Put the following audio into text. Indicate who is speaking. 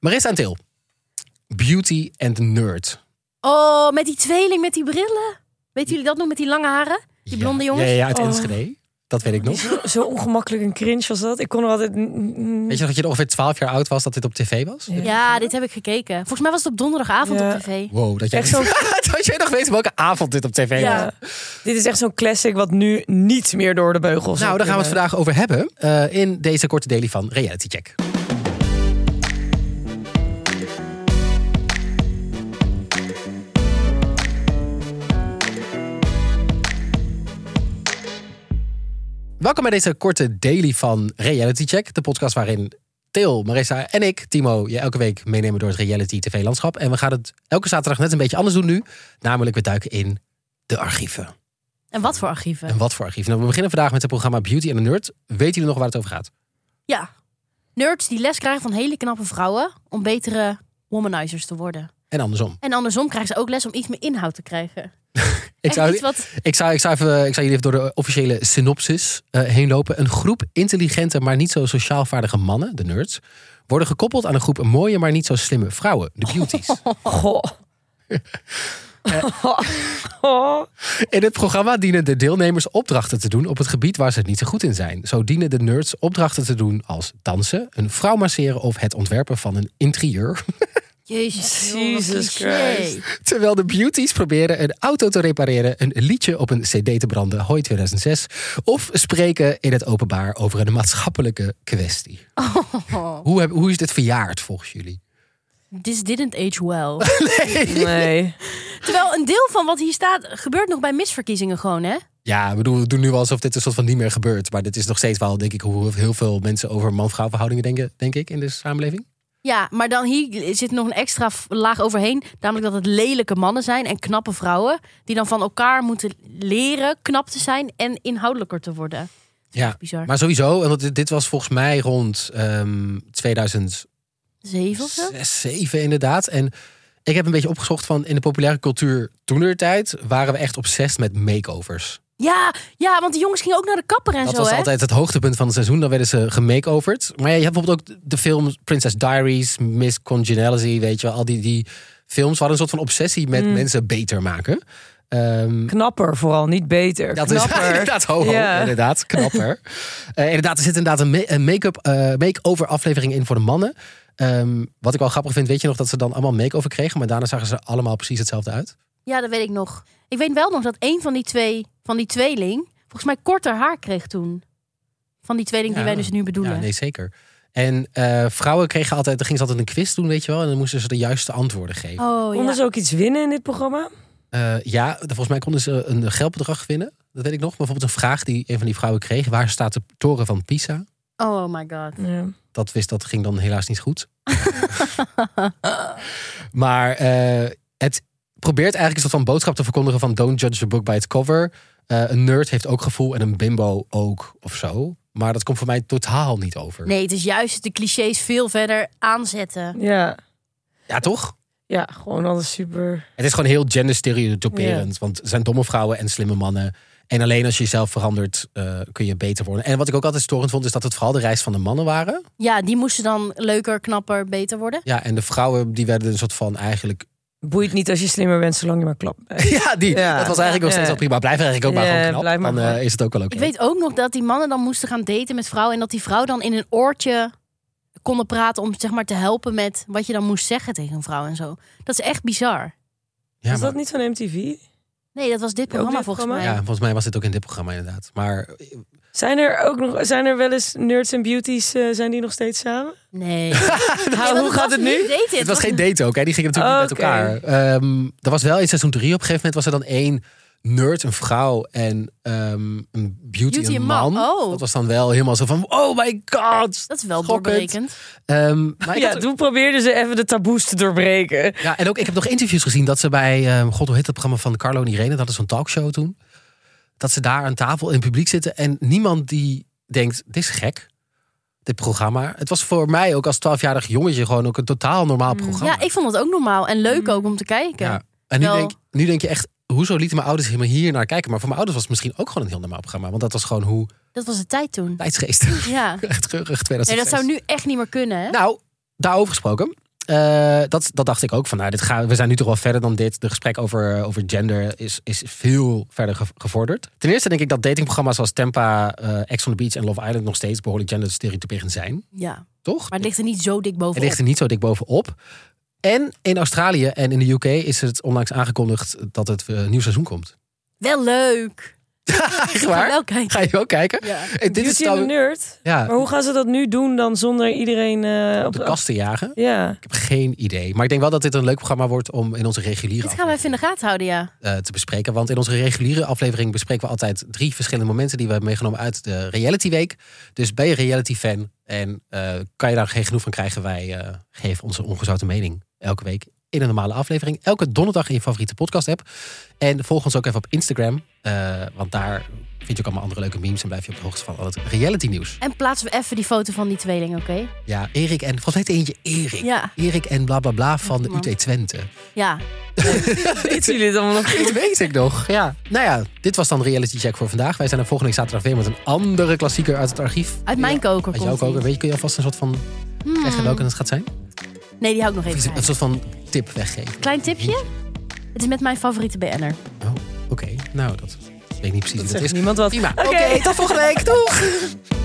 Speaker 1: Marissa en Til. Beauty and Nerd.
Speaker 2: Oh, met die tweeling met die brillen. Weten jullie dat nog met die lange haren? Die blonde
Speaker 1: Ja.
Speaker 2: jongens?
Speaker 1: Ja, ja, ja, uit
Speaker 3: Oh.
Speaker 1: Enschede. Dat weet ik nog.
Speaker 3: Zo ongemakkelijk en cringe was dat. Ik kon er altijd...
Speaker 1: Weet je nog dat je ongeveer 12 jaar oud was dat dit op tv was?
Speaker 3: Ja.
Speaker 2: Ja, dit heb ik gekeken. Volgens mij was het op donderdagavond
Speaker 3: Ja.
Speaker 2: op tv.
Speaker 1: Wow, dat jij,
Speaker 3: Echt zo-
Speaker 1: dat jij nog weet welke avond dit op tv
Speaker 2: Ja.
Speaker 1: was.
Speaker 3: Dit is echt zo'n classic wat nu niet meer door de beugels.
Speaker 1: Nou, daar gaan we het
Speaker 3: kunnen.
Speaker 1: vandaag over hebben eh, in deze korte daily van Reality Check. Welkom bij deze korte daily van Reality Check, de podcast waarin Theo, Marissa en ik, Timo, je elke week meenemen door het reality tv-landschap. En we gaan het elke zaterdag net een beetje anders doen nu, namelijk we duiken in de archieven.
Speaker 2: En wat voor archieven?
Speaker 1: En wat voor archief? Nou, we beginnen vandaag met het programma Beauty and the Nerd. Weten jullie nog waar het over gaat?
Speaker 2: Ja. Nerds die les krijgen van hele knappe vrouwen om betere womanizers te worden.
Speaker 1: En andersom.
Speaker 2: En andersom krijgen ze ook les om iets meer inhoud te krijgen.
Speaker 1: Ik
Speaker 2: Echt
Speaker 1: zou,
Speaker 2: iets wat...
Speaker 1: ik, zou, ik, zou even, ik zou jullie even door de officiële synopsis eh, heen lopen. Een groep intelligente, maar niet zo sociaal vaardige mannen, de nerds, worden gekoppeld aan een groep mooie, maar niet zo slimme vrouwen, de beauties.
Speaker 3: Goh. Oh.
Speaker 1: In het programma dienen de deelnemers opdrachten te doen op het gebied waar ze niet zo goed in zijn. Zo dienen de nerds opdrachten te doen als dansen, een vrouw masseren of het ontwerpen van een interieur.
Speaker 2: Jezus, joh, wat
Speaker 3: Jesus
Speaker 2: cliché.
Speaker 3: Christ.
Speaker 1: Terwijl de beauties proberen een auto te repareren, een liedje op een cd te branden, hoi 2006, of spreken in het openbaar over een maatschappelijke kwestie.
Speaker 2: Oh,
Speaker 1: Hoe, heb, hoe is dit verjaard volgens jullie?
Speaker 2: this didn't age well.
Speaker 3: Nee.
Speaker 2: Terwijl een deel van wat hier staat gebeurt nog bij misverkiezingen gewoon, hè?
Speaker 1: Ja, ik bedoel, we doen nu alsof dit een soort van niet meer gebeurt, maar dit is nog steeds wel, denk ik, hoe heel veel mensen over man-vrouw verhoudingen denken, denk ik, in de samenleving.
Speaker 2: Ja, maar dan hier zit nog een extra f- laag overheen. Namelijk dat het lelijke mannen zijn en knappe vrouwen. Die dan van elkaar moeten leren knap te zijn en inhoudelijker te worden.
Speaker 1: Ja,
Speaker 2: Bizar.
Speaker 1: maar sowieso, want dit- dit was volgens mij rond ehm 2000.
Speaker 2: Zeven of zo?
Speaker 1: Zes, zeven inderdaad. En ik heb een beetje opgezocht van in de populaire cultuur toenertijd waren we echt obsessed met makeovers.
Speaker 2: Ja, ja, want die jongens gingen ook naar de kapper en
Speaker 1: Dat
Speaker 2: zo,
Speaker 1: was
Speaker 2: hè?
Speaker 1: altijd het hoogtepunt van het seizoen. Dan werden ze gemakeoverd. Maar ja, je hebt bijvoorbeeld ook de films Princess Diaries, Miss Congeniality, weet je wel. Al die, die films hadden een soort van obsessie
Speaker 2: Mm.
Speaker 1: met mensen beter maken. Ehm,
Speaker 3: Knapper vooral, niet beter.
Speaker 1: dat Oh, is
Speaker 3: Knapper.
Speaker 1: inderdaad ho, ho,
Speaker 3: Ja.
Speaker 1: inderdaad, knapper. Eh, inderdaad, er zit inderdaad een, ma- een make-up, eh, make-over aflevering in voor de mannen. Ehm, wat ik wel grappig vind, weet je nog dat ze dan allemaal make-over kregen, maar daarna zagen ze er allemaal precies hetzelfde uit.
Speaker 2: Ja, dat weet ik nog. Ik weet wel nog dat één van die twee, van die tweeling, volgens mij korter haar kreeg toen. Van die tweeling
Speaker 1: Ja.
Speaker 2: die wij dus nu bedoelen.
Speaker 1: Ja, nee, zeker. En eh, vrouwen kregen altijd, dan gingen ze altijd een quiz doen, weet je wel, en dan moesten ze de juiste antwoorden geven.
Speaker 2: Oh ja.
Speaker 3: Konden ze ook iets winnen in dit programma?
Speaker 1: Eh, ja, volgens mij konden ze een geldbedrag winnen. Dat weet ik nog. Bijvoorbeeld een vraag die een van die vrouwen kreeg: waar staat de toren van Pisa?
Speaker 2: Oh my god.
Speaker 3: Ja.
Speaker 1: Dat wist, dat ging dan helaas niet goed. maar eh, het probeert eigenlijk een soort van boodschap te verkondigen van don't judge a book by its cover. Eh, een nerd heeft ook gevoel en een bimbo ook of zo. Maar dat komt voor mij totaal niet over.
Speaker 2: Nee, het is juist de clichés veel verder aanzetten.
Speaker 3: ja.
Speaker 1: Ja, toch?
Speaker 3: Ja, gewoon alles super.
Speaker 1: Het is gewoon heel genderstereotyperend. Want er zijn domme vrouwen en slimme mannen. En alleen als je jezelf verandert, eh, kun je beter worden. En wat ik ook altijd storend vond, is dat het vooral de reis van de mannen waren.
Speaker 2: Ja, die moesten dan leuker, knapper, beter worden.
Speaker 1: Ja, en de vrouwen die werden een soort van eigenlijk
Speaker 3: Boeit niet als je slimmer bent, zolang je maar klapt.
Speaker 1: Ja, die.
Speaker 3: Ja.
Speaker 1: Dat was eigenlijk nog steeds wel
Speaker 3: Ja.
Speaker 1: prima. Blijf eigenlijk ook maar
Speaker 3: Ja,
Speaker 1: gewoon knap.
Speaker 3: blijf maar
Speaker 1: dan eh,
Speaker 3: gewoon.
Speaker 1: is het ook wel oké.
Speaker 2: Ik weet ook nog dat die mannen dan moesten gaan daten met vrouwen. En dat die vrouw dan in een oortje konden praten om zeg maar te helpen met wat je dan moest zeggen tegen een vrouw en zo. Dat is echt bizar.
Speaker 1: Ja, maar-
Speaker 3: Is dat niet van MTV?
Speaker 2: Nee, dat was dit programma
Speaker 3: dit
Speaker 2: volgens
Speaker 3: programma?
Speaker 2: mij.
Speaker 1: ja, volgens mij was dit ook in dit programma inderdaad. Maar
Speaker 3: Zijn er ook nog, zijn er wel eens nerds en beauties, eh, zijn die nog steeds samen?
Speaker 2: Nee.
Speaker 3: Nou, hoe gaat het nu?
Speaker 1: het was geen date ook. Hè? Die gingen natuurlijk niet
Speaker 3: Oké.
Speaker 1: met elkaar. Ehm, er was wel in seizoen drie op een gegeven moment was er dan één nerd, een vrouw en ehm, een beauty,
Speaker 2: Beauty
Speaker 1: een
Speaker 2: en
Speaker 1: man.
Speaker 2: man. Oh.
Speaker 1: Dat was dan wel helemaal zo van, oh my god.
Speaker 2: Dat is wel
Speaker 1: Schokkend.
Speaker 2: doorbrekend.
Speaker 1: Ehm, maar ik
Speaker 3: Ja,
Speaker 1: had-
Speaker 3: toen probeerden ze even de taboes te doorbreken.
Speaker 1: Ja, en ook, ik heb nog interviews gezien dat ze bij, ehm, god hoe heet dat programma van Carlo en Irene, dat is zo'n talkshow toen. Dat ze daar aan tafel in het publiek zitten en niemand die denkt, dit is gek, dit programma. Het was voor mij ook als 12-jarig jongetje gewoon ook een totaal normaal programma.
Speaker 2: Mm. Ja, ik vond dat ook normaal en leuk ook om te kijken.
Speaker 1: Mm. Ja. En nu
Speaker 2: Wel-
Speaker 1: denk, nu denk je echt, hoezo lieten mijn ouders helemaal hier naar kijken? Maar voor mijn ouders was het misschien ook gewoon een heel normaal programma, want dat was gewoon hoe
Speaker 2: Dat was de tijd
Speaker 1: Nou,
Speaker 2: toen.
Speaker 1: tijdsgeest.
Speaker 2: Ja.
Speaker 1: Echt terug,
Speaker 2: Nee,
Speaker 1: 2006.
Speaker 2: dat zou nu echt niet meer kunnen. Hè?
Speaker 1: Nou, daarover gesproken. eh, dat, dat dacht ik ook. Van, nou, dit gaan, we zijn nu toch wel verder dan dit. De gesprek over, over gender is, is veel verder ge- gevorderd. Ten eerste denk ik dat datingprogramma's als Tempa, eh Ex on the Beach en Love Island nog steeds behoorlijk genderstereotyperend zijn.
Speaker 2: Ja,
Speaker 1: Toch?
Speaker 2: maar het ligt er niet zo dik
Speaker 1: Het
Speaker 2: bovenop.
Speaker 1: ligt er niet zo dik bovenop. En in Australië en in de UK is het onlangs aangekondigd dat het eh, nieuw seizoen komt.
Speaker 2: Wel leuk.
Speaker 1: Echt
Speaker 2: Ik ga
Speaker 1: waar?
Speaker 2: wel kijken.
Speaker 1: Ga je ook kijken?
Speaker 2: Ja.
Speaker 1: Eh, Dit is
Speaker 3: Beauty and the
Speaker 1: dan,
Speaker 3: Nerd.
Speaker 1: ja,
Speaker 3: Maar hoe gaan ze dat nu doen dan zonder iedereen eh,
Speaker 1: op
Speaker 3: op
Speaker 1: de kast te jagen.
Speaker 3: Ja.
Speaker 1: Ik heb geen idee. Maar ik denk wel dat dit een leuk programma wordt om in onze reguliere
Speaker 2: Dit gaan we even in de gaten houden, ja.
Speaker 1: eh, te bespreken. Want in onze reguliere aflevering bespreken we altijd drie verschillende momenten die we hebben meegenomen uit de Reality Week. Dus ben je reality fan en eh, kan je daar geen genoeg van krijgen? Wij eh, geven onze ongezouten mening elke week in een normale aflevering. Elke donderdag in je favoriete podcast app. En volg ons ook even op Instagram. eh, want daar vind je ook allemaal andere leuke memes en blijf je op de hoogte van al het reality nieuws.
Speaker 2: En plaatsen we even die foto van die tweeling, oké?
Speaker 1: Ja, Erik en volgens mij heet eentje Erik.
Speaker 2: Ja.
Speaker 1: Erik en bla bla bla van de
Speaker 2: man.
Speaker 1: UT Twente.
Speaker 2: Ja.
Speaker 3: Weten jullie het allemaal nog?
Speaker 1: Dit weet ik nog. Ja. Nou ja, dit was dan Reality Check voor vandaag. Wij zijn er volgende week zaterdag weer met een andere klassieker uit het archief.
Speaker 2: Uit mijn Hmm. koker
Speaker 1: Uit
Speaker 2: komt
Speaker 1: jouw koker.
Speaker 2: die.
Speaker 1: Weet je, kun je alvast een soort van zeggen welke het gaat zijn?
Speaker 2: Nee, die hou ik nog
Speaker 1: Of
Speaker 2: even
Speaker 1: iets- een
Speaker 2: bij.
Speaker 1: soort van tip weggeven.
Speaker 2: Klein tipje. Het is met mijn favoriete BN'er.
Speaker 1: Oh, oké. Nou, dat weet ik niet precies
Speaker 3: Dat
Speaker 1: wie dat
Speaker 3: zegt
Speaker 1: is.
Speaker 3: niemand wat.
Speaker 1: Prima. Oké,
Speaker 3: Oké.
Speaker 1: tot volgende week. Doeg!